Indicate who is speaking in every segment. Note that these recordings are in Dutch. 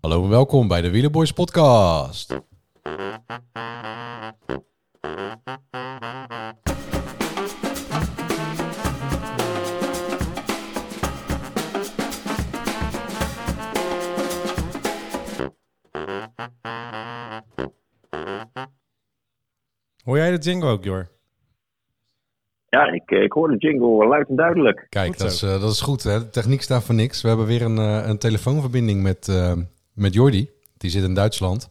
Speaker 1: Hallo en welkom bij de Wielerboys podcast.
Speaker 2: Hoor jij de jingle ook, Jor?
Speaker 3: Ja, ik, eh, ik hoor de jingle luid en duidelijk.
Speaker 1: Kijk,
Speaker 2: Goed
Speaker 1: dat is,
Speaker 2: zo.
Speaker 1: eh, dat is goed. Hè? De techniek staat voor niks. We hebben weer een, eh, een telefoonverbinding met, eh, met Jordi. Die zit in Duitsland.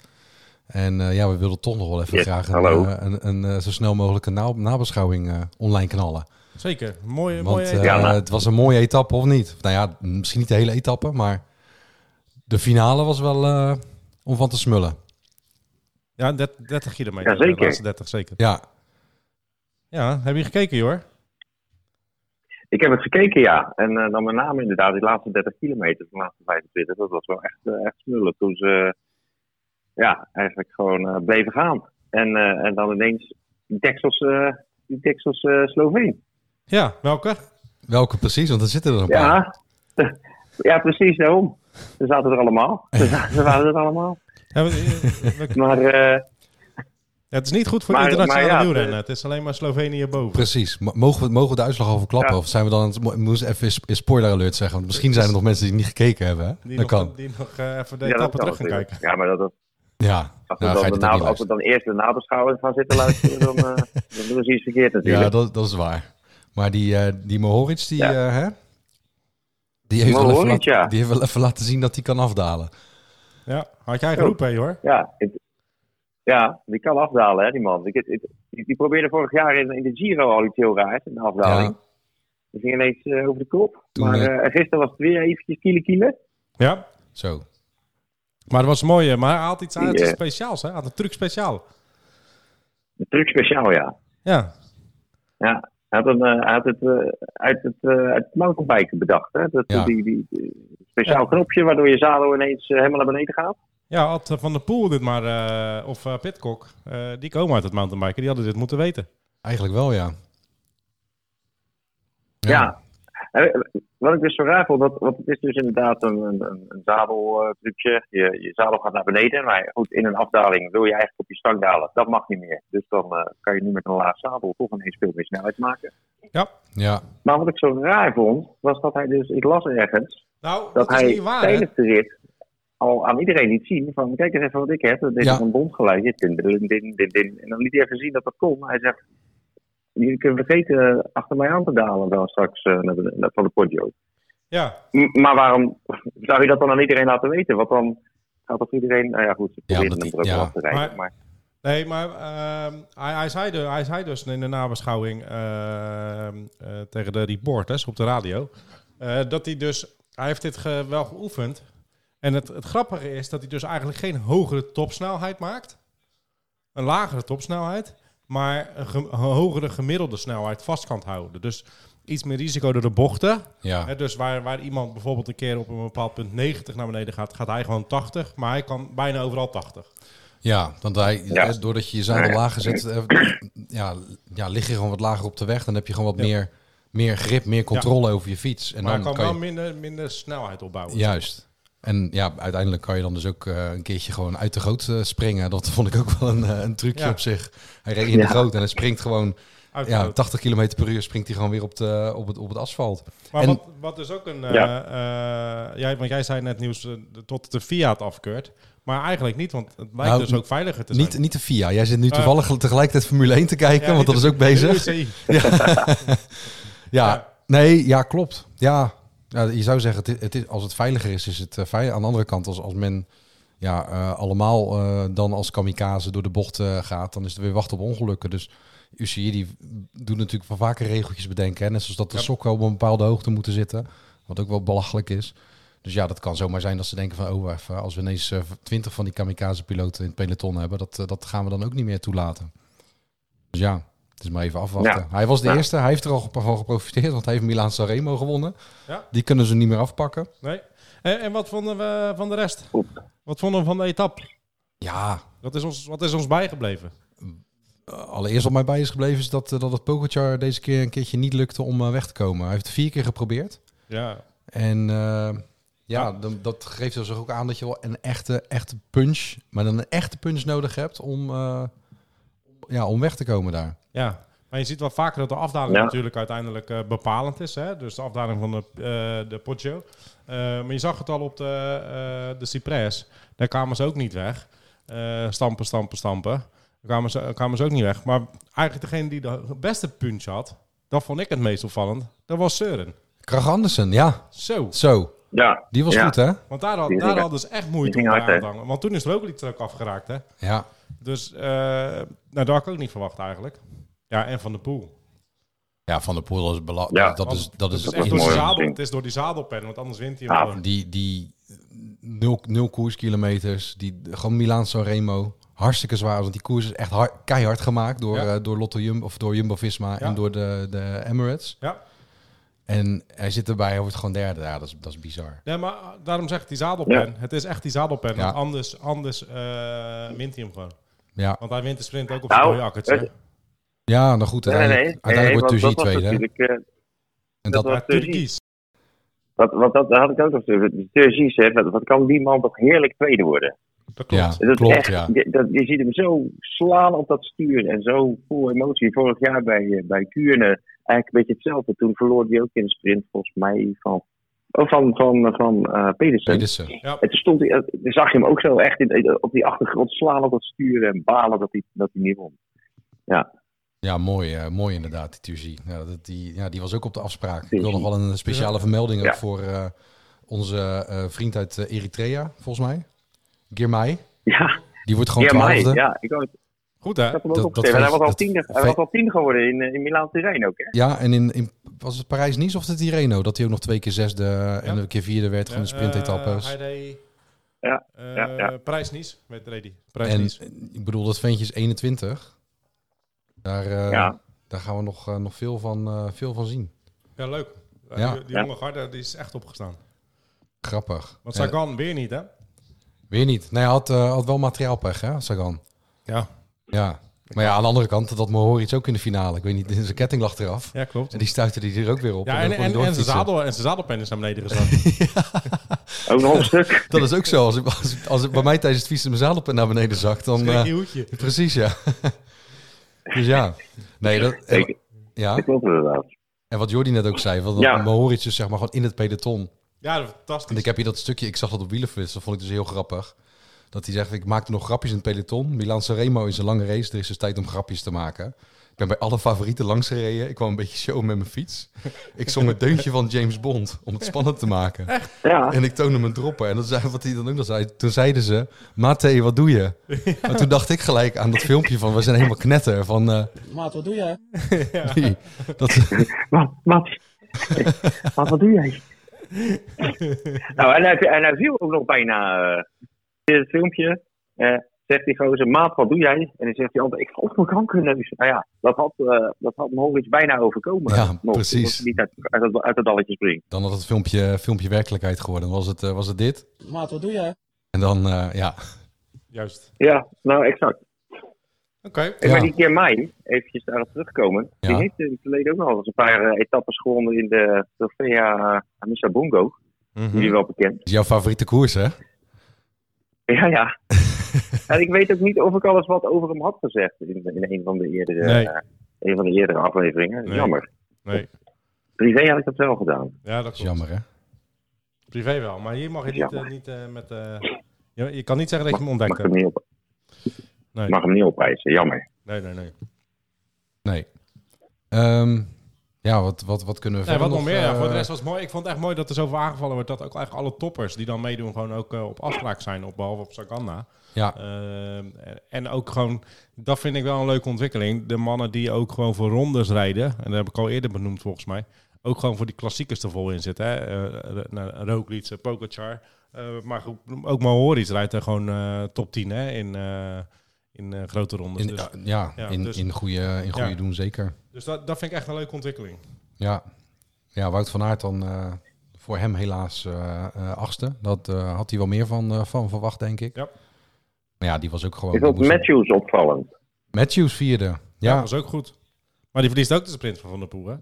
Speaker 1: En eh, ja, we wilden toch nog wel even
Speaker 3: Ja,
Speaker 1: graag een,
Speaker 3: hallo.
Speaker 1: eh, een, een, eh, zo snel mogelijk een na- nabeschouwing eh, online knallen.
Speaker 2: Zeker. Mooie,
Speaker 1: Want
Speaker 2: mooie...
Speaker 1: eh,
Speaker 3: Ja, nou.
Speaker 1: het was een mooie etappe, of niet? Nou ja, misschien niet de hele etappe, maar de finale was wel eh, om van te smullen.
Speaker 2: ja, dert- 30 kilometer.
Speaker 3: Ja, zeker.
Speaker 2: De laatste 30, zeker.
Speaker 1: Ja,
Speaker 2: Ja, heb je gekeken, Jor?
Speaker 3: Ik heb het gekeken, ja. En eh, dan met name inderdaad die laatste 30 kilometer, de laatste 25. Dat was wel echt, eh, echt smullen. Toen ze eh, ja, eigenlijk gewoon eh, bleven gaan. En, eh, en dan ineens die deksels, eh, die deksels eh, Sloveen.
Speaker 2: Ja, welke?
Speaker 1: welke precies? Want er zitten er een paar.
Speaker 3: Ja. ja, precies daarom. Ze zaten er allemaal. Ze, za- ze waren er allemaal.
Speaker 2: Ja, we- we-
Speaker 3: Maar eh,
Speaker 2: het is niet goed voor
Speaker 3: Maar-
Speaker 2: internationale
Speaker 3: maar ja, eh,
Speaker 2: wielrennen.
Speaker 3: de-
Speaker 2: Het is alleen maar Slovenië boven.
Speaker 1: Precies. M- Mogen we, mogen we de uitslag al verklappen?
Speaker 3: Ja.
Speaker 1: Of zijn we dan... aan het- mo- Moest even is- is spoiler alert zeggen. Want misschien zijn er nog mensen die niet gekeken hebben. Hè?
Speaker 2: Die
Speaker 1: dat
Speaker 2: nog,
Speaker 1: kan.
Speaker 2: Die nog eh, even de
Speaker 3: ja,
Speaker 2: etappe terug gaan
Speaker 3: natuurlijk.
Speaker 2: kijken.
Speaker 3: Ja, maar dat, dat,
Speaker 1: Ja.
Speaker 3: als, we
Speaker 1: Nou, ga
Speaker 3: dan
Speaker 1: je
Speaker 3: de
Speaker 1: dit ook niet
Speaker 3: na- als we
Speaker 1: luisteren.
Speaker 3: dan eerst de nabeschouwing gaan zitten luisteren, dan, eh, dan doen ze iets verkeerd natuurlijk.
Speaker 1: Ja, dat, dat is waar. Maar die, eh, die Mohoric, die...
Speaker 3: Ja.
Speaker 1: eh, hè? Die heeft, wel even
Speaker 3: Mohoric,
Speaker 1: laten,
Speaker 3: ja.
Speaker 1: die heeft wel even laten zien dat hij kan afdalen.
Speaker 2: Ja, had jij geroepen, hè, Jor?
Speaker 3: Ja, het- ja, die kan afdalen, hè, die man. Ik, ik- die, die probeerde vorig jaar in, in de Giro al iets heel raars, een afdaling.
Speaker 1: Ja.
Speaker 3: Die ging ineens eh, over de kop.
Speaker 1: Toen,
Speaker 3: maar
Speaker 1: eh,
Speaker 3: eh, gisteren was het weer eventjes kiele kiele.
Speaker 2: Ja.
Speaker 1: Zo.
Speaker 2: Maar dat was mooi, hè. maar hij had iets, hij had iets
Speaker 3: Ja.
Speaker 2: speciaals, hè? Hij had een truc speciaal.
Speaker 3: Een truc speciaal, ja.
Speaker 2: Ja,
Speaker 3: ja. Hij had, een, eh, hij had het eh, uit het, eh, uit het mountainbiken bedacht, hè. Dat,
Speaker 1: Ja.
Speaker 3: die, die, die speciaal knopje waardoor je zadel ineens eh, helemaal naar beneden gaat.
Speaker 2: ja had eh, Van der Poel dit maar, eh, of eh Pitcock, eh, die komen uit het mountainbiken, die hadden dit moeten weten.
Speaker 1: Eigenlijk wel, ja.
Speaker 3: Ja. En, eh, Wat ik dus zo raar vond, dat, want het is dus inderdaad een, een, een een zadeltrucje. Je, je zadel gaat naar beneden, maar goed, in een afdaling wil je eigenlijk op je stang dalen. Dat mag niet meer. Dus dan eh, kan je nu met een laag zadel toch ineens veel meer snelheid maken.
Speaker 2: Ja,
Speaker 1: Ja.
Speaker 3: Maar wat ik zo raar vond, was dat hij dus, ik las ergens,
Speaker 2: nou, dat,
Speaker 3: dat,
Speaker 2: is
Speaker 3: hij
Speaker 2: niet waar, hè?
Speaker 3: tijdens de rit al aan iedereen liet zien van, kijk eens even wat ik heb. Dat is
Speaker 1: Ja.
Speaker 3: een bondgeluidje. Din, din, din, din, din. En dan liet hij even zien dat dat kon. Hij zegt, jullie kunnen vergeten achter mij aan te dalen wel straks eh, naar de- naar- van de podio.
Speaker 2: Ja,
Speaker 3: M- Maar waarom zou je dat dan aan iedereen laten weten? Want dan gaat toch iedereen... Nou ja, goed, ze
Speaker 1: Ja,
Speaker 3: proberen
Speaker 1: omdat
Speaker 3: hem
Speaker 1: die-
Speaker 3: er ook
Speaker 1: ja.
Speaker 3: af te rijden.
Speaker 2: Maar-
Speaker 3: Maar,
Speaker 2: Nee, maar ehm, hij, hij, zei dus, hij zei dus in de nabeschouwing ehm, eh, tegen de reporters op de radio... eh, dat hij dus... Hij heeft dit ge- wel geoefend. En het, het grappige is dat hij dus eigenlijk geen hogere topsnelheid maakt. Een lagere topsnelheid. Maar een, ge- een hogere gemiddelde snelheid vast kan houden. Dus iets meer risico door de bochten.
Speaker 1: Ja.
Speaker 2: Hè, dus waar, waar iemand bijvoorbeeld een keer op een bepaald punt 90 naar beneden gaat... gaat hij gewoon 80, maar hij kan bijna overal 80.
Speaker 1: Ja, want hij,
Speaker 3: Ja.
Speaker 1: eh, doordat je je zadel lager zet, eh, ja, ja, lig je gewoon wat lager op de weg. Dan heb je gewoon wat meer, meer grip, meer controle over je fiets. En
Speaker 2: maar
Speaker 1: dan
Speaker 2: kan,
Speaker 1: kan
Speaker 2: wel
Speaker 1: je,
Speaker 2: minder, minder snelheid opbouwen.
Speaker 1: Juist. En ja, uiteindelijk kan je dan dus ook eh, een keertje gewoon uit de goot eh, springen. Dat vond ik ook wel een, eh, een trucje
Speaker 2: Ja.
Speaker 1: op zich. Hij reed in
Speaker 3: Ja.
Speaker 1: de goot en hij springt gewoon
Speaker 2: Uit-
Speaker 1: ja, 80 km per uur springt hij gewoon weer op, de, op, het, op het asfalt.
Speaker 2: maar
Speaker 1: en-
Speaker 2: wat, wat dus ook een... eh,
Speaker 3: Ja.
Speaker 2: eh, jij, want jij zei net nieuws eh, tot de Fiat afkeurt. Maar eigenlijk niet, want het lijkt
Speaker 1: Nou,
Speaker 2: dus ook veiliger te zijn.
Speaker 1: Niet, niet de FIA. Jij zit nu
Speaker 2: Eh.
Speaker 1: toevallig tegelijkertijd Formule 1 te kijken,
Speaker 2: Ja,
Speaker 1: want dat
Speaker 2: niet
Speaker 1: is
Speaker 2: de-
Speaker 1: ook bezig.
Speaker 2: de UCI.
Speaker 1: Ja,
Speaker 2: Ja.
Speaker 1: nee, ja, klopt. Ja, ja je zou zeggen, het is, het is, als het veiliger is, is het eh, veilig. Aan de andere kant, als, als men ja, eh, allemaal eh, dan als kamikaze door de bocht eh, gaat, dan is er weer wachten op ongelukken. Dus UCI die doet natuurlijk van vaker regeltjes bedenken. Hè? Net zoals dat de
Speaker 2: Ja.
Speaker 1: sokken op een bepaalde hoogte moeten zitten, wat ook wel belachelijk is. Dus ja, dat kan zomaar zijn dat ze denken van, oh, even, als we ineens twintig van die kamikaze-piloten in het peloton hebben, dat, eh, dat gaan we dan ook niet meer toelaten. Dus ja, het is maar even afwachten.
Speaker 3: Ja.
Speaker 1: Hij was de
Speaker 3: Ja.
Speaker 1: eerste, hij heeft er al gep- van geprofiteerd, want hij heeft Milaan Sanremo gewonnen.
Speaker 2: Ja.
Speaker 1: Die kunnen ze niet meer afpakken.
Speaker 2: Nee. En, en wat vonden we van de rest?
Speaker 3: Oep.
Speaker 2: Wat vonden we van de etappe?
Speaker 1: Ja,
Speaker 2: Wat is ons, wat is ons bijgebleven?
Speaker 1: eh, allereerst wat mij bij is gebleven is dat, eh, dat het Pogacar deze keer een keertje niet lukte om eh, weg te komen. Hij heeft het vier keer geprobeerd.
Speaker 2: Ja,
Speaker 1: En eh, Ja, dan, dat geeft dus ook aan dat je wel een echte, echte punch, maar dan een echte punch nodig hebt om, eh, ja, om weg te komen daar.
Speaker 2: Ja, maar je ziet wel vaker dat de afdaling
Speaker 3: Ja.
Speaker 2: natuurlijk uiteindelijk eh, bepalend is. Hè? Dus de afdaling van de, eh de Poggio. Eh, maar je zag het al op de, eh de Cypress. Daar kwamen ze ook niet weg. Eh, stampen, stampen, stampen. Daar kwamen ze, kwamen ze ook niet weg. Maar eigenlijk degene die de beste punch had, dat vond ik het meest opvallend, dat was Seuren.
Speaker 1: Krag Andersen, ja,
Speaker 2: Zo.
Speaker 1: zo.
Speaker 3: Ja,
Speaker 1: Die was
Speaker 3: Ja.
Speaker 1: goed, hè?
Speaker 2: Want daar, had,
Speaker 3: Die
Speaker 2: daar
Speaker 3: ging-
Speaker 2: hadden ze echt moeite
Speaker 3: die
Speaker 2: om
Speaker 3: ging hard,
Speaker 2: bij aan te
Speaker 3: hè?
Speaker 2: hangen. Want toen is er ook iets afgeraakt. Hè?
Speaker 1: Ja.
Speaker 2: Dus eh, nou, dat had ik ook niet verwacht eigenlijk. Ja, en Van de Poel.
Speaker 1: Ja, Van der Poel is belangrijk.
Speaker 3: Ja.
Speaker 1: dat is, dat is,
Speaker 2: Het
Speaker 3: is
Speaker 2: is echt door die
Speaker 3: mooi om te
Speaker 2: zadel,
Speaker 3: zien.
Speaker 2: het is door die zadelpen, want anders wint hij
Speaker 3: Ja,
Speaker 2: hem gewoon.
Speaker 1: Die, die nul, nul koerskilometers, die, gewoon Milaan Sanremo. Hartstikke zwaar, want die koers is echt hard, keihard gemaakt door,
Speaker 2: Ja.
Speaker 1: eh, door Lotto Jumbo, of door Jumbo Visma
Speaker 2: Ja.
Speaker 1: en door de, de Emirates.
Speaker 2: Ja.
Speaker 1: En hij zit erbij, hij wordt gewoon derde. Ja, dat is, dat is bizar.
Speaker 2: Nee, maar ah, daarom zeg ik die zadelpen.
Speaker 3: Ja.
Speaker 2: Het is echt die zadelpen.
Speaker 1: Ja.
Speaker 2: want Anders, anders eh, wint hij hem gewoon.
Speaker 1: Ja,
Speaker 2: Want hij wint de sprint ook op
Speaker 3: Nou,
Speaker 2: zijn mooie akkertje.
Speaker 3: het-
Speaker 1: ja nou goed,
Speaker 3: nee, nee, nee.
Speaker 1: uiteindelijk, uiteindelijk
Speaker 3: want
Speaker 1: wordt Tuzi
Speaker 3: dat was
Speaker 1: tweede. hè?
Speaker 3: natuurlijk, eh,
Speaker 1: En
Speaker 3: dat
Speaker 1: dat,
Speaker 3: was
Speaker 2: Maar
Speaker 3: Turgie.
Speaker 2: Turkies.
Speaker 3: Wat, wat dat daar had ik ook nog de Turgies, hè, wat, wat kan die man toch heerlijk tweede worden?
Speaker 2: Dat klopt.
Speaker 1: ja,
Speaker 2: Ja.
Speaker 3: Dat is
Speaker 1: klopt,
Speaker 3: echt,
Speaker 1: ja.
Speaker 3: je, dat, je ziet hem zo slaan op dat stuur en zo vol emotie. Vorig jaar bij, eh, bij Kuurne eigenlijk een beetje hetzelfde. Toen verloor hij ook in de sprint volgens mij van, oh, van, van, van eh, Pedersen.
Speaker 1: Pedersen.
Speaker 3: En toen, stond hij, eh, toen zag je hem ook zo echt in- eh, op die achtergrond slaan op dat stuur en balen dat hij, dat hij niet won.
Speaker 1: Ja, mooi, eh, mooi inderdaad, die Tuzi. Ja, dat, die, ja, die was ook op de afspraak. Ik
Speaker 3: Tuzi.
Speaker 1: wil nog wel een speciale vermelding ook
Speaker 3: Ja.
Speaker 1: voor eh, onze eh, vriend uit eh, Eritrea, volgens mij. Girmay.
Speaker 3: Ja,
Speaker 1: Die wordt gewoon
Speaker 3: ja, maar,
Speaker 1: twaalfde. Ja.
Speaker 3: ja ik, had- ik
Speaker 2: Goed hè?
Speaker 3: had hem
Speaker 1: Dat- dat
Speaker 3: ook opgeschreven. En Hij
Speaker 1: feest-
Speaker 3: was al
Speaker 1: dat
Speaker 3: tiende, hij
Speaker 1: fe-
Speaker 3: was al tiende geworden in, eh, in Milaan Turijn ook. Hè?
Speaker 1: en in, in was het Parijs-Nice of het in Reno? Dat hij ook nog twee keer zesde en
Speaker 2: Ja.
Speaker 1: een keer vierde werd van de
Speaker 2: sprintetappes.
Speaker 1: sprintetappes.
Speaker 2: Eh, hij deed...
Speaker 3: Ja,
Speaker 2: eh,
Speaker 3: ja, ja.
Speaker 2: Prijs niet, met Reddy. Prijs
Speaker 1: en
Speaker 2: niet.
Speaker 1: eh, ik bedoel, dat ventje is 21. Daar, eh,
Speaker 3: Ja.
Speaker 1: daar gaan we nog, eh, nog veel, van, eh, veel van zien.
Speaker 2: Ja, leuk.
Speaker 1: Ja.
Speaker 2: Die, die
Speaker 3: Ja.
Speaker 2: jonge garde die is echt opgestaan.
Speaker 1: Grappig.
Speaker 2: Want
Speaker 1: Eh,
Speaker 2: Sagan weer niet hè?
Speaker 1: weer niet. Nee, hij had, eh, had wel materiaalpech, hè, Sagan.
Speaker 2: Ja.
Speaker 1: Ja, maar ja, aan de andere kant, dat Mohoric ook in de finale. Ik weet niet, zijn ketting lag eraf.
Speaker 2: Ja, klopt.
Speaker 1: En die stuitte die er ook weer op.
Speaker 2: Ja,
Speaker 1: dan
Speaker 2: en,
Speaker 1: kon
Speaker 2: en,
Speaker 1: hij
Speaker 2: en, zijn
Speaker 1: doorfietsen.
Speaker 2: zadel, en zijn zadelpen is naar beneden gezakt.
Speaker 3: Ook nog een stuk.
Speaker 1: Dat is ook zo. Als, ik, als, ik- als ik bij mij tijdens het fietsen mijn zadel naar beneden zakt, dan...
Speaker 2: Geen
Speaker 1: eh,
Speaker 2: nieuwtje.
Speaker 1: precies, ja. dus ja. Nee, dat... En,
Speaker 3: Ik-
Speaker 1: ja,
Speaker 3: Dat klopt inderdaad.
Speaker 1: en wat Jordi net ook zei, van dat
Speaker 3: Ja.
Speaker 1: Mohoric dus zeg maar gewoon in het peloton.
Speaker 2: Ja,
Speaker 1: En
Speaker 2: fantastisch.
Speaker 1: ik heb hier dat stukje, ik zag dat op Wielerflits, dat vond ik dus heel grappig. Dat hij zegt, ik maakte nog grapjes in het peloton. Milan Sanremo is een lange race, er is dus tijd om grapjes te maken. Ik ben bij alle favorieten langs gereden. Ik kwam een beetje show met mijn fiets. Ik zong het deuntje van James Bond om het spannend te maken.
Speaker 3: Ja.
Speaker 1: En ik toonde mijn droppen. En dat zei wat hij dan ook nog zei. Toen zeiden ze, Mate, wat doe je? En toen dacht ik gelijk aan dat filmpje van, we zijn helemaal knetter. Van, eh,
Speaker 4: Maat, wat doe jij?
Speaker 1: die- dat,
Speaker 3: Wat, wat, wat, wat doe jij? nou, en hij, en hij viel ook nog bijna eh, in het filmpje. eh, zegt die gozer, maat, wat doe jij? En dan zegt die ander, ik val op mijn kankerneus. Nou ja, dat had, eh dat had Moritz bijna overkomen.
Speaker 1: Ja,
Speaker 3: Nog,
Speaker 1: precies.
Speaker 3: omdat hij Niet uit, uit, het- uit het dalletje springen.
Speaker 1: dan had het filmpje, filmpje werkelijkheid geworden. Dan Was het, eh, was het dit?
Speaker 4: Maat, wat doe jij?
Speaker 1: En dan, eh, ja.
Speaker 2: Juist.
Speaker 3: Ja, nou, exact.
Speaker 2: Oké.
Speaker 3: En
Speaker 1: Ja.
Speaker 3: Maar die keer mij, eventjes daarop terugkomen.
Speaker 1: Ja.
Speaker 3: Die heeft in het verleden ook nog eens een paar eh, etappes gewonnen in de Trofea Amissa Bongo.
Speaker 1: Mhm.
Speaker 3: Jullie wel bekend.
Speaker 1: Dat is jouw favoriete koers, hè?
Speaker 3: Ja, ja. en ik weet ook niet of ik alles wat over hem had gezegd in, in een, van de eerdere,
Speaker 2: Nee.
Speaker 3: eh, een van de eerdere afleveringen.
Speaker 2: Nee.
Speaker 3: Jammer.
Speaker 2: Nee.
Speaker 3: Privé had ik dat wel gedaan.
Speaker 2: Ja, dat
Speaker 1: Dat
Speaker 2: klopt.
Speaker 1: is jammer, hè?
Speaker 2: Privé wel, maar hier mag je niet,
Speaker 3: Ja.
Speaker 2: eh, niet eh, met... eh, je, je kan niet zeggen dat je
Speaker 3: Mag,
Speaker 2: hem
Speaker 3: mag,
Speaker 2: ontdekt
Speaker 3: hem
Speaker 2: hebt.
Speaker 3: niet op,
Speaker 2: Nee.
Speaker 3: mag hem niet opeisen, jammer.
Speaker 2: nee, nee, nee.
Speaker 1: Nee. Ehm, ja, wat, wat, wat kunnen we
Speaker 2: nee
Speaker 1: verder
Speaker 2: wat nog meer? ja,
Speaker 1: eh,
Speaker 2: voor de rest was het mooi. Ik vond het echt mooi dat er zoveel aangevallen wordt. Dat ook eigenlijk alle toppers die dan meedoen gewoon ook eh, op afspraak zijn. Op, behalve op Saganda.
Speaker 1: Ja,
Speaker 2: Ehm, en ook gewoon... Dat vind ik wel een leuke ontwikkeling. De mannen die ook gewoon voor rondes rijden. En dat heb ik al eerder benoemd volgens mij. Ook gewoon voor die klassiekers er vol in zitten. hè. Eh, eh, nou, Roglic, eh, Pogacar. Eh, maar goed, ook Mahoris rijdt er gewoon eh, top 10 hè, in, eh, in eh, grote rondes.
Speaker 1: in,
Speaker 2: Dus-
Speaker 1: ja, ja,
Speaker 2: ja,
Speaker 1: in,
Speaker 2: dus-
Speaker 1: in goede, in goede
Speaker 2: Ja.
Speaker 1: doen zeker.
Speaker 2: Dus dat, dat vind ik echt een leuke ontwikkeling.
Speaker 1: Ja, ja Wout van Aert dan eh, voor hem helaas eh, eh, achtste. Dat eh, had hij wel meer van, eh, van verwacht, denk ik.
Speaker 2: Ja.
Speaker 1: Maar ja, die was ook
Speaker 2: Oh,
Speaker 1: gewoon...
Speaker 3: Ik vond
Speaker 1: die moest-
Speaker 3: Matthews opvallend.
Speaker 1: Matthews vierde.
Speaker 2: Ja.
Speaker 1: Ja,
Speaker 2: Dat is ook goed. Maar die verliest ook de sprint van Van der Poel, hè?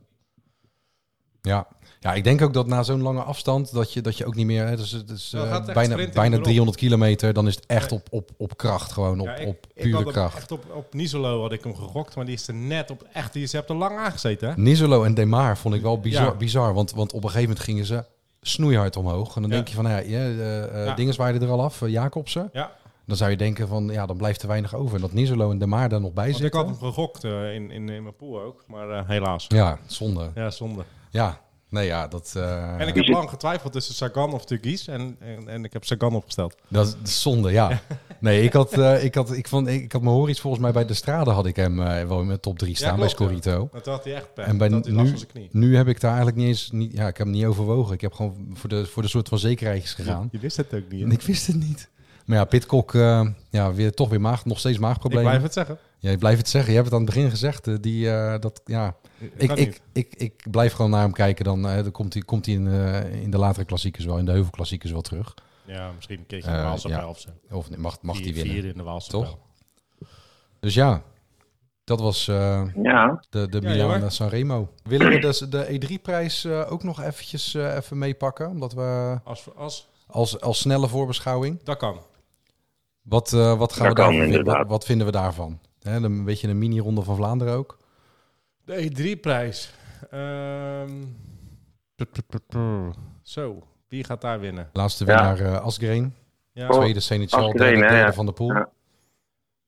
Speaker 1: Ja. ja, ik denk ook dat na zo'n lange afstand dat je, dat je ook niet meer... Hè, dus, dus,
Speaker 2: Dan
Speaker 1: eh,
Speaker 2: gaat echt
Speaker 1: bijna
Speaker 2: sprinten
Speaker 1: bijna
Speaker 2: erop.
Speaker 1: 300 kilometer, dan is het echt
Speaker 2: Nee.
Speaker 1: op, op, op kracht gewoon, op,
Speaker 2: Ja, ik-
Speaker 1: op
Speaker 2: ik had
Speaker 1: pure
Speaker 2: hem
Speaker 1: kracht.
Speaker 2: Echt op, op Nisolo had ik hem gegokt, maar die is er net op. Echt, die is, je hebt er lang aangezeten, hè?
Speaker 1: Nizolo en Demar vond ik wel bizar,
Speaker 2: Ja.
Speaker 1: bizar want, want op een gegeven moment gingen ze snoeihard omhoog. En dan
Speaker 2: Ja.
Speaker 1: denk je van, nou ja, ja, eh, eh,
Speaker 2: Ja.
Speaker 1: dingen zwaaiden er al af, eh, Jacobsen.
Speaker 2: Ja,
Speaker 1: Dan zou je denken van, ja, dan blijft er weinig over. En dat Nizolo en Demar daar nog bij
Speaker 2: want
Speaker 1: zitten.
Speaker 2: ik had hem gegokt eh, in, in, in mijn pool ook, maar eh, helaas.
Speaker 1: Ja, zonde.
Speaker 2: Ja, zonde.
Speaker 1: Ja, nee, ja, dat, eh,
Speaker 2: En ik heb lang getwijfeld tussen Sagan of Turkies en, en, en ik heb Sagan opgesteld.
Speaker 1: dat is- dat is zonde, ja. Nee, ik had, eh, ik had, ik vond, ik had mijn horizon volgens mij bij de strade had ik hem eh, wel in mijn top 3 staan bij
Speaker 2: klopt, ja.
Speaker 1: Scorito.
Speaker 2: Dat had hij echt pech.
Speaker 1: En bij
Speaker 2: dat hij last
Speaker 1: nu,
Speaker 2: van zijn knie.
Speaker 1: nu heb ik daar eigenlijk niet eens, niet, ja, ik heb hem niet overwogen. Ik heb gewoon voor de, voor de soort van zekerheidjes gegaan.
Speaker 2: Je wist het ook niet. hè?
Speaker 1: En ik wist het niet. Maar ja, Pitcock, eh, ja, weer, toch weer maag, nog steeds
Speaker 2: Ik
Speaker 1: maagproblemen.
Speaker 2: blijf het zeggen.
Speaker 1: Ja, je blijft het zeggen. Je hebt het aan het begin gezegd. eh, Die, eh, dat, ja, ik,
Speaker 2: kan
Speaker 1: ik,
Speaker 2: niet.
Speaker 1: ik, ik blijf gewoon naar hem kijken. Dan, eh, dan komt hij, komt hij in, eh, in de latere klassiekers wel, in de heuvelklassiekers wel terug.
Speaker 2: Ja, misschien een keertje
Speaker 1: Eh,
Speaker 2: in de Waalse
Speaker 1: ja.
Speaker 2: pijl of zo.
Speaker 1: Of nee, mag, mag
Speaker 2: Vier-
Speaker 1: hij winnen.
Speaker 2: Vier in de Waalse
Speaker 1: Toch?
Speaker 2: pijl.
Speaker 1: Dus ja, dat was eh,
Speaker 3: Ja,
Speaker 1: de, de
Speaker 2: Ja,
Speaker 1: Milan
Speaker 2: joh.
Speaker 1: Sanremo. Willen we dus de E3-prijs ook nog eventjes eh, even meepakken? Omdat we
Speaker 2: Als, als,
Speaker 1: als, als snelle voorbeschouwing.
Speaker 2: dat kan.
Speaker 1: Wat, eh, wat, gaan
Speaker 3: Dat
Speaker 1: we
Speaker 3: kan,
Speaker 1: daarvan vinden?
Speaker 3: inderdaad.
Speaker 1: Wat, wat vinden we daarvan? Hè, een beetje een mini-ronde van Vlaanderen ook.
Speaker 2: De E3-prijs. Ehm, tu- tu- tu- tu. Zo, wie gaat daar winnen?
Speaker 1: Laatste
Speaker 3: Ja.
Speaker 1: winnaar eh Asgreen.
Speaker 2: Ja,
Speaker 3: Oh.
Speaker 1: Tweede Senechal,
Speaker 3: Asgreen,
Speaker 1: derde,
Speaker 3: hè,
Speaker 1: derde
Speaker 3: ja.
Speaker 1: van de pool.
Speaker 3: Ja.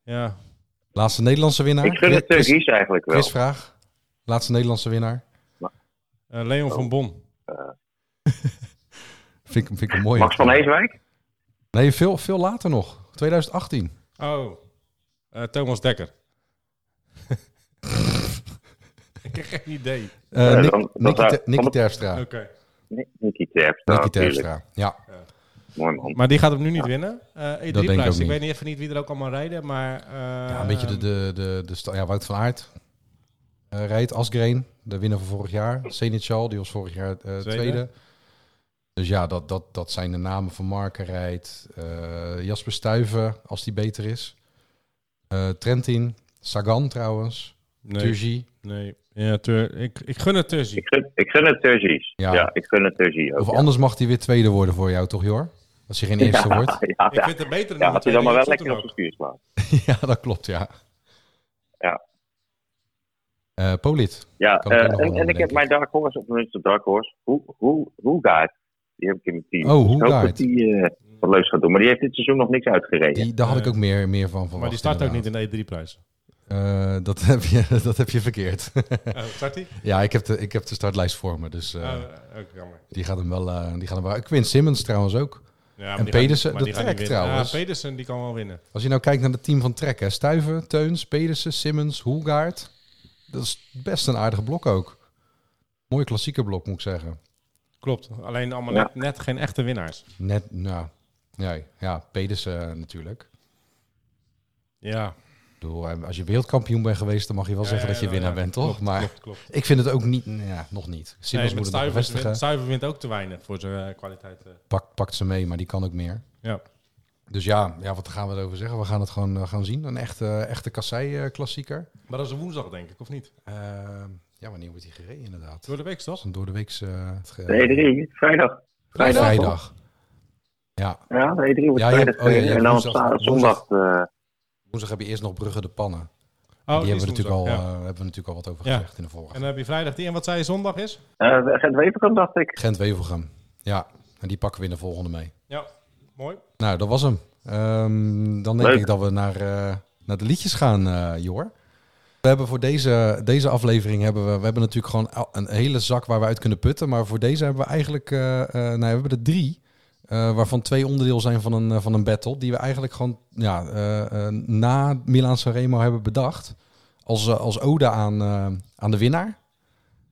Speaker 2: ja.
Speaker 1: Laatste Nederlandse winnaar.
Speaker 3: ik gun het
Speaker 1: Chris-
Speaker 3: Turkies eigenlijk wel.
Speaker 1: Quizvraag. Laatste Nederlandse winnaar.
Speaker 2: Eh, Leon van Bon.
Speaker 1: Vind ik, vind ik een mooie.
Speaker 3: Max van Heeswijk?
Speaker 1: Nee, veel, veel later nog. 2018.
Speaker 2: Oh, Eh, Thomas Dekker. Ik heb geen idee.
Speaker 1: Eh
Speaker 3: Ja,
Speaker 1: Nick-
Speaker 3: dan- dan
Speaker 1: Nicky
Speaker 3: zou-
Speaker 1: Ter- Nicky
Speaker 3: dan-
Speaker 1: Terpstra.
Speaker 2: Oké.
Speaker 3: Nee, Nicky Terpstra.
Speaker 1: Nicky
Speaker 3: natuurlijk.
Speaker 1: Terpstra. Ja,
Speaker 3: Mooi man.
Speaker 2: Maar die gaat hem nu niet winnen. Eh, E3-prijs.
Speaker 1: denk ik ook
Speaker 2: ik,
Speaker 1: niet.
Speaker 2: weet niet even niet wie er ook allemaal rijden, maar... eh,
Speaker 1: ja een beetje de, de, de, de sta- ja, Wout van Aert. eh, rijdt Asgreen, de winnaar van vorig jaar. Senechal, die was vorig jaar eh, tweede. Dus ja, dat, dat, dat zijn de namen van Marken rijdt. eh, Jasper Stuyven, als die beter is. Eh, Trentin, Sagan trouwens.
Speaker 2: Nee,
Speaker 1: Turgi.
Speaker 2: nee. Ja, Tur- ik, ik gun het Turzi.
Speaker 3: Ik gun, ik gun het Turkies.
Speaker 1: Ja.
Speaker 3: Ja. ik gun het Turkies ook.
Speaker 1: Of
Speaker 3: ja.
Speaker 1: anders mag hij weer tweede worden voor jou, toch, Jor? Als hij geen eerste
Speaker 3: Ja,
Speaker 1: wordt.
Speaker 3: Ja,
Speaker 2: Ik
Speaker 3: ja.
Speaker 2: vind het beter
Speaker 3: ja
Speaker 2: dan
Speaker 3: het is allemaal wel lekker op de stuur slaan.
Speaker 1: ja, dat klopt, ja.
Speaker 3: Ja.
Speaker 1: Eh, Polit.
Speaker 3: Ja,
Speaker 1: Kan ik
Speaker 3: eh,
Speaker 1: ook nog wel
Speaker 3: en, en
Speaker 1: denk
Speaker 3: ik heb
Speaker 1: ik.
Speaker 3: mijn Dark Horse, of tenminste Dark Horse, hoe, hoe, hoe gaat Die heb ik in mijn team.
Speaker 1: Oh,
Speaker 3: ik hoop
Speaker 1: Hoogaard.
Speaker 3: dat die eh, wat leuks gaat doen. Maar die heeft dit seizoen nog niks uitgereden.
Speaker 1: Die, daar had ik
Speaker 2: Nee.
Speaker 1: ook meer, meer van verwacht.
Speaker 2: Maar die start ook
Speaker 1: inderdaad.
Speaker 2: niet in de E3-prijs.
Speaker 1: Eh, dat, heb je, dat heb je verkeerd.
Speaker 2: Oh, start die?
Speaker 1: ja, ik heb, de, ik heb de startlijst voor me. Dus eh,
Speaker 2: Oh, ook jammer.
Speaker 1: die gaat hem wel. eh, die gaat hem wel. Quinn Simmons trouwens ook.
Speaker 2: Ja, maar
Speaker 1: En
Speaker 2: die
Speaker 1: Pedersen,
Speaker 2: gaat niet-
Speaker 1: dat
Speaker 2: maar die gaat niet
Speaker 1: trekt
Speaker 2: winnen.
Speaker 1: trouwens.
Speaker 2: Ja, Pedersen die kan wel winnen.
Speaker 1: Als je nou kijkt naar het team van Trek, hè, Stuiven, Teuns, Pedersen, Simmons, Hoegaard. Dat is best een aardige blok ook. Mooi klassieke blok, moet ik zeggen.
Speaker 2: Klopt. Alleen allemaal
Speaker 3: Ja.
Speaker 2: net, net geen echte winnaars.
Speaker 1: Net, nou, nee, ja, Pedersen eh, natuurlijk.
Speaker 2: Ja.
Speaker 1: Ik bedoel, eh, als je wereldkampioen bent geweest, dan mag je wel
Speaker 2: Ja,
Speaker 1: zeggen
Speaker 2: ja,
Speaker 1: dat je
Speaker 2: ja,
Speaker 1: winnaar
Speaker 2: ja,
Speaker 1: bent, toch?
Speaker 2: klopt,
Speaker 1: maar
Speaker 2: Klopt, klopt.
Speaker 1: ik vind het ook niet, nou ja, nog niet. Simmons moet
Speaker 2: Nee, met
Speaker 1: het nog
Speaker 2: Stuiven,
Speaker 1: bevestigen.
Speaker 2: wint- Stuiven wint ook te weinig voor zijn eh, kwaliteit. eh.
Speaker 1: Pak, pakt ze mee, maar die kan ook meer.
Speaker 2: Ja.
Speaker 1: Dus ja, ja wat gaan we erover zeggen? We gaan het gewoon eh, gaan zien. Een echte, echte kassei-klassieker. Ehm,
Speaker 2: Maar dat is een woensdag, denk ik, of niet?
Speaker 1: ja, wanneer wordt die gereden inderdaad?
Speaker 2: Door de week,
Speaker 1: Dat
Speaker 2: toch?
Speaker 1: is een door de weekse... eh, ge-
Speaker 3: De E3, vrijdag.
Speaker 1: Vrijdag.
Speaker 3: Vrijdag.
Speaker 1: Ja,
Speaker 3: Ja, de E3 wordt
Speaker 1: Ja, je
Speaker 3: vrijdag.
Speaker 1: hebt- oh ja, je
Speaker 3: gereden.
Speaker 1: hebt
Speaker 3: en dan
Speaker 1: woensdag-
Speaker 3: sta-
Speaker 1: woensdag.
Speaker 3: zondag... eh,
Speaker 1: woensdag heb je eerst nog Brugge de Pannen.
Speaker 2: Oh,
Speaker 1: die
Speaker 2: die is
Speaker 1: hebben we, natuurlijk al,
Speaker 2: woensdag,
Speaker 1: eh, hebben we natuurlijk al wat over
Speaker 2: Ja.
Speaker 1: gezegd in de
Speaker 2: ja.
Speaker 1: vorige.
Speaker 2: eh, En dan heb je vrijdag die. En wat zei je zondag is?
Speaker 3: eh Gent Wevergem dacht ik.
Speaker 1: Gent-Wevelgem. Ja, en die pakken we in de volgende mee.
Speaker 2: Ja. Mooi.
Speaker 1: Nou, dat was hem. Ehm, dan denk
Speaker 3: Leuk.
Speaker 1: ik dat we naar, eh, naar de liedjes gaan, eh, Jor. We hebben voor deze, deze aflevering hebben we, we hebben natuurlijk gewoon al- een hele zak waar we uit kunnen putten. Maar voor deze hebben we eigenlijk, eh, eh, nou, we hebben er drie. eh, waarvan twee onderdeel zijn van een, eh, van een battle. Die we eigenlijk gewoon ja, eh, eh, na Milaan Sanremo hebben bedacht. Als, eh, als ode aan, eh, aan de winnaar.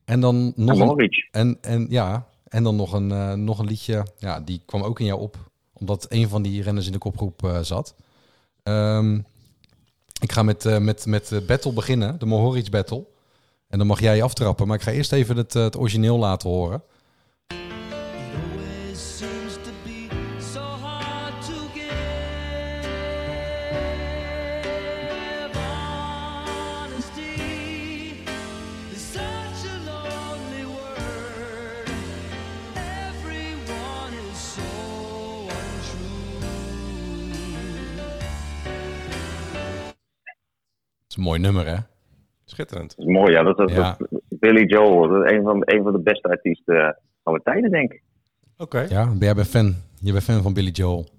Speaker 1: En dan nog een,
Speaker 3: Moric.
Speaker 1: en, en ja, en dan nog een, eh, nog een liedje. Ja, die kwam ook in jou op. Omdat een van die renners in de kopgroep eh, zat. Ehm, ik ga met, eh, met, met de battle beginnen. De Mohoric battle. En dan mag jij aftrappen. Maar ik ga eerst even het, eh, het origineel laten horen.
Speaker 4: It always seems to be so hard to give honesty. It's such a lonely word.
Speaker 1: is een mooi nummer, hè?
Speaker 2: Schitterend.
Speaker 3: Dat is mooi, ja. Dat, dat,
Speaker 1: Ja.
Speaker 3: dat- Billy Joel, dat is een van, een van de beste artiesten eh, van mijn tijden, denk ik.
Speaker 2: Oké.
Speaker 1: Ja, ben jij bent fan. Je bent fan van Billy Joel.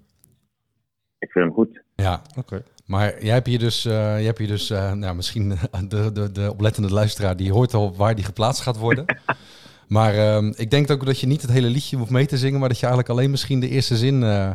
Speaker 3: Ik vind hem goed.
Speaker 1: Ja,
Speaker 2: Oké.
Speaker 1: maar jij hebt hier dus, eh, jij hebt hier dus eh, nou, misschien de, de, de oplettende luisteraar, die hoort al waar die geplaatst gaat worden. maar ehm, ik denk ook dat je niet het hele liedje hoeft mee te zingen, maar dat je eigenlijk alleen misschien de eerste zin, eh,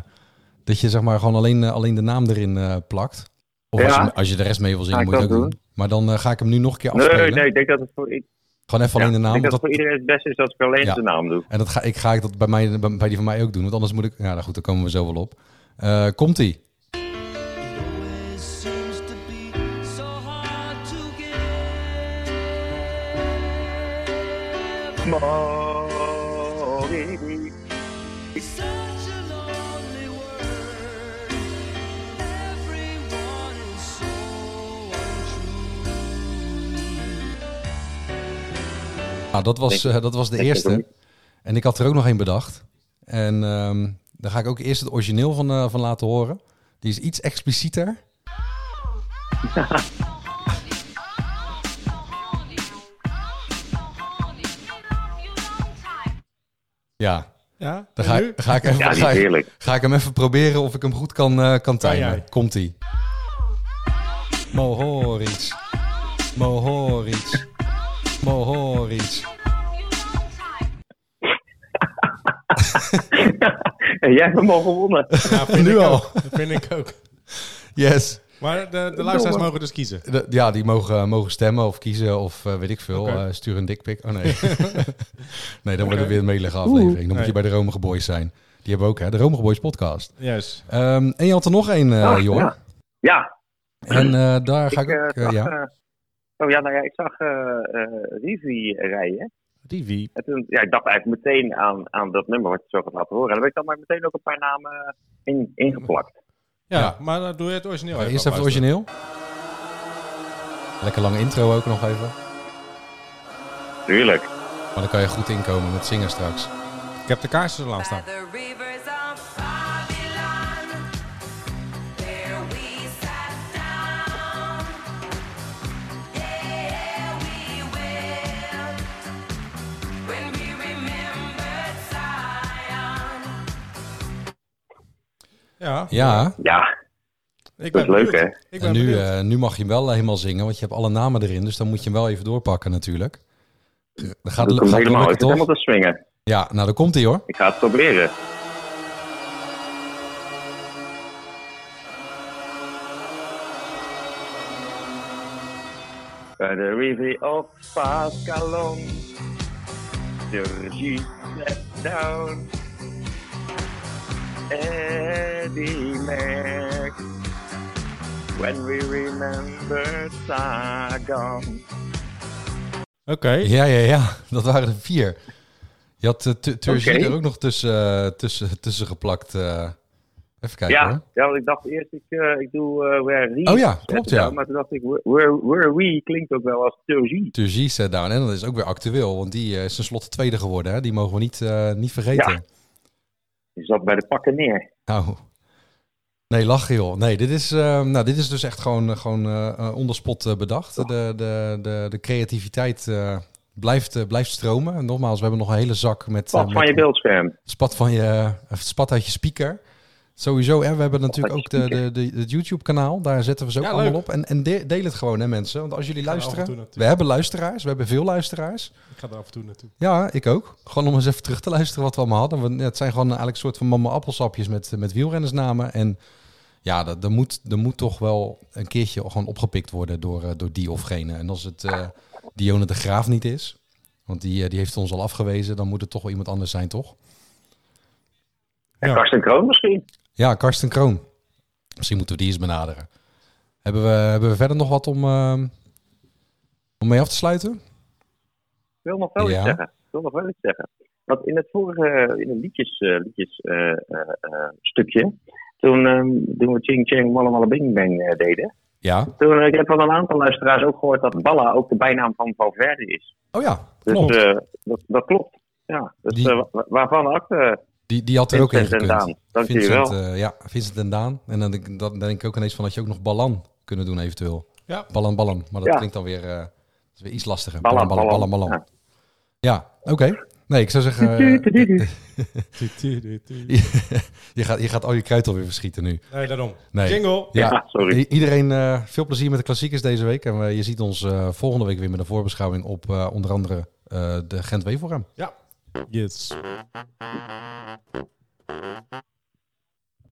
Speaker 1: dat je zeg maar gewoon alleen, eh, alleen de naam erin eh, plakt. Of als,
Speaker 3: Ja.
Speaker 1: je, als je de rest mee wil zingen,
Speaker 3: Ga ik
Speaker 1: moet je dat
Speaker 3: dat
Speaker 1: ook
Speaker 3: doen?
Speaker 1: doen. Maar dan eh, ga ik hem nu nog een keer afspelen.
Speaker 3: Nee, nee, ik denk dat het voor, i-
Speaker 1: Gewoon even alleen
Speaker 3: ja,
Speaker 1: de naam.
Speaker 3: ik denk dat
Speaker 1: want
Speaker 3: het voor
Speaker 1: dat-
Speaker 3: iedereen het beste is dat ik alleen
Speaker 1: Ja.
Speaker 3: de naam doe.
Speaker 1: En dat ga, ik ga ik dat bij, mij, bij, bij die van mij ook doen, want anders moet ik... Ja, nou goed, daar komen we zo wel op. Eh, Komt-ie.
Speaker 4: It always seems to be so hard to give.
Speaker 3: Morgen.
Speaker 4: It's such a lonely world. Everyone is so untrue.
Speaker 1: Nou, dat was, eh, dat was de
Speaker 3: ik heb hem
Speaker 1: eerste. En ik had er ook nog één bedacht. En ehm, daar ga ik ook eerst het origineel van, eh, van laten horen. Die is iets explicieter. Ja,
Speaker 2: Ja,
Speaker 1: dan
Speaker 2: en
Speaker 1: ga,
Speaker 2: nu?
Speaker 1: ik- ga, ik even,
Speaker 3: Ja, die is
Speaker 1: ga, ik,
Speaker 3: heerlijk.
Speaker 1: ga ik hem even proberen of ik hem goed kan, eh kan
Speaker 2: Kan
Speaker 1: timen.
Speaker 2: jij?
Speaker 1: Komt-ie. Mohoric. Mohoric. Mohoric.
Speaker 3: En jij hebt hem al gewonnen.
Speaker 2: Ja, vind
Speaker 1: Nu
Speaker 2: ik
Speaker 1: al.
Speaker 2: ook. Dat vind ik ook.
Speaker 1: Yes.
Speaker 2: Maar de, de luisteraars mogen dus kiezen.
Speaker 1: De- ja, die mogen, mogen stemmen of kiezen of eh, weet ik veel.
Speaker 2: Oké.
Speaker 1: eh, stuur een dikpik. Oh nee. nee, dan wordt het weer een melige aflevering. Dan moet
Speaker 2: Nee.
Speaker 1: je bij de Romige Boys zijn. Die hebben we ook, hè? De Romige Boys podcast.
Speaker 2: Juist.
Speaker 1: Ehm, en je had er nog één, eh
Speaker 3: Ah,
Speaker 1: Jor.
Speaker 3: ja. Ja,
Speaker 1: En eh, daar ga ik,
Speaker 3: ik, eh,
Speaker 1: ook... eh,
Speaker 3: zag,
Speaker 1: ja.
Speaker 3: eh, oh ja, nou ja, ik zag eh, eh, Rivi rijden.
Speaker 2: Rivi.
Speaker 3: En toen, ja, ik dacht eigenlijk meteen aan, aan dat nummer wat je zo gaat laten horen. En daar heb ik dan maar meteen ook een paar namen in, ingeplakt.
Speaker 2: Ja,
Speaker 1: Ja.
Speaker 2: maar dan doe je het origineel.
Speaker 3: eh,
Speaker 1: Ja, eerst even het origineel. Lekker lange intro ook nog even.
Speaker 3: Tuurlijk.
Speaker 1: Maar dan kan je goed inkomen met zingen straks.
Speaker 2: Ik heb de kaarsjes er aan staan.
Speaker 5: By the rivers of Babylon, there we sat down. Yeah, we wept when we remembered Zion.
Speaker 2: Ja.
Speaker 1: Ja,
Speaker 3: Ja,
Speaker 2: Ik
Speaker 3: dat is
Speaker 2: ben
Speaker 3: leuk,
Speaker 2: benieuwd.
Speaker 3: hè?
Speaker 2: Ik
Speaker 1: en
Speaker 2: ben
Speaker 1: nu,
Speaker 2: benieuwd.
Speaker 1: eh, nu mag je hem wel helemaal zingen, want je hebt alle namen erin. Dus dan moet je hem wel even doorpakken natuurlijk. Dat gaat,
Speaker 3: Dat
Speaker 1: gaat
Speaker 3: komt helemaal.
Speaker 1: lukken,
Speaker 3: Ik zit
Speaker 1: toch?
Speaker 3: helemaal te swingen.
Speaker 1: Ja, nou daar komt hij hoor.
Speaker 3: Ik ga het proberen. Bij de river of Pascalon, the Regie set down. Eddie Mac, when we remember Saigon.
Speaker 2: Oké.
Speaker 1: Ja, ja, ja. Dat waren er vier. Je had uh,
Speaker 3: Oké.
Speaker 1: er ook nog tussen, eh, tussen, tussen geplakt. eh. even kijken
Speaker 3: Ja,
Speaker 1: hoor.
Speaker 3: ja, want ik dacht eerst, ik, eh, ik doe eh Where We.
Speaker 1: Oh ja, klopt, ja.
Speaker 3: nou Maar toen dacht ik, Where, where We klinkt ook wel als theologie.
Speaker 1: Turgie set down. eh, En dat is ook weer actueel, want die eh, is tenslotte tweede geworden. Hè? Die mogen we niet, eh, niet vergeten.
Speaker 3: Ja. Je zat bij de pakken neer.
Speaker 1: Nou. Nee, lachen joh. Nee, dit is, eh, nou, dit is dus echt gewoon, gewoon eh onderspot bedacht. De, de, de, de creativiteit eh, blijft, eh, blijft stromen. En nogmaals, we hebben nog een hele zak met... eh,
Speaker 3: Pas van
Speaker 1: met-
Speaker 3: je beeldscherm.
Speaker 1: spat van je, of spat uit je speaker. Sowieso, en we hebben natuurlijk ook de, de, de, het YouTube-kanaal. Daar zetten we ze ook
Speaker 2: Ja,
Speaker 1: allemaal
Speaker 2: leuk.
Speaker 1: op. En, en de- deel het gewoon, hè mensen. Want als jullie
Speaker 2: ga er af en
Speaker 1: luisteren...
Speaker 2: toe naartoe.
Speaker 1: we hebben luisteraars, we hebben veel luisteraars.
Speaker 2: Ik ga er af en toe naartoe.
Speaker 1: Ja, ik ook. Gewoon om eens even terug te luisteren wat we allemaal hadden. Want het zijn gewoon eigenlijk een soort van mama-appelsapjes met, met wielrennersnamen. En ja, dat, dat, moet, dat moet toch wel een keertje gewoon opgepikt worden door, eh, door die of gene. En als het eh Dione de Graaf niet is, want die, eh, die heeft ons al afgewezen... dan moet het toch wel iemand anders zijn, toch?
Speaker 3: En
Speaker 2: Ja.
Speaker 3: Karsten Kroon misschien.
Speaker 1: Ja, Karsten Kroon. Misschien moeten we die eens benaderen. Hebben we, hebben we verder nog wat om, ehm, om mee af te sluiten?
Speaker 3: Ik wil nog wel
Speaker 1: Ja.
Speaker 3: iets zeggen. Ik wil nog wel iets zeggen. Want in het vorige in het liedjes, eh, liedjes eh, eh, eh, stukje, toen, ehm, toen we Ching Chang Malle Malle Bing Bang eh, deden,
Speaker 1: Ja.
Speaker 3: toen eh, ik heb van een aantal luisteraars ook gehoord dat Balla ook de bijnaam van Valverde is.
Speaker 1: Oh ja,
Speaker 3: Dus
Speaker 1: klopt.
Speaker 3: eh, dat, dat klopt. Ja, dus
Speaker 1: Die-
Speaker 3: eh, wa- waarvan acte
Speaker 1: Die, die had er ook in
Speaker 3: Vincent en
Speaker 1: gekund.
Speaker 3: Daan. Dank jullie
Speaker 1: Vincent,
Speaker 3: wel.
Speaker 1: eh, ja, Vincent en Daan. En dan, denk ik- dan denk ik ook ineens van dat je ook nog Balan kunnen doen eventueel.
Speaker 2: Ja.
Speaker 1: Ballan, ballan. Maar dat
Speaker 3: Ja.
Speaker 1: klinkt dan weer, eh, dat is weer iets lastiger.
Speaker 3: Ballan,
Speaker 1: ballan,
Speaker 3: ballan.
Speaker 1: ballan. ballan. Ja, oké. Nee, ik zou zeggen, eh,
Speaker 3: Tudu-tudu-tudu.
Speaker 1: je, gaat, je gaat al je kruid alweer verschieten nu.
Speaker 2: Nee, daarom.
Speaker 1: Nee.
Speaker 2: Jingle.
Speaker 1: Ja,
Speaker 3: Ja, sorry.
Speaker 1: I- iedereen eh, veel plezier met de klassiekers deze week. En eh, je ziet ons eh, volgende week weer met een voorbeschouwing op eh, onder andere eh, de Gent-Wevelgem.
Speaker 2: Ja. Yes.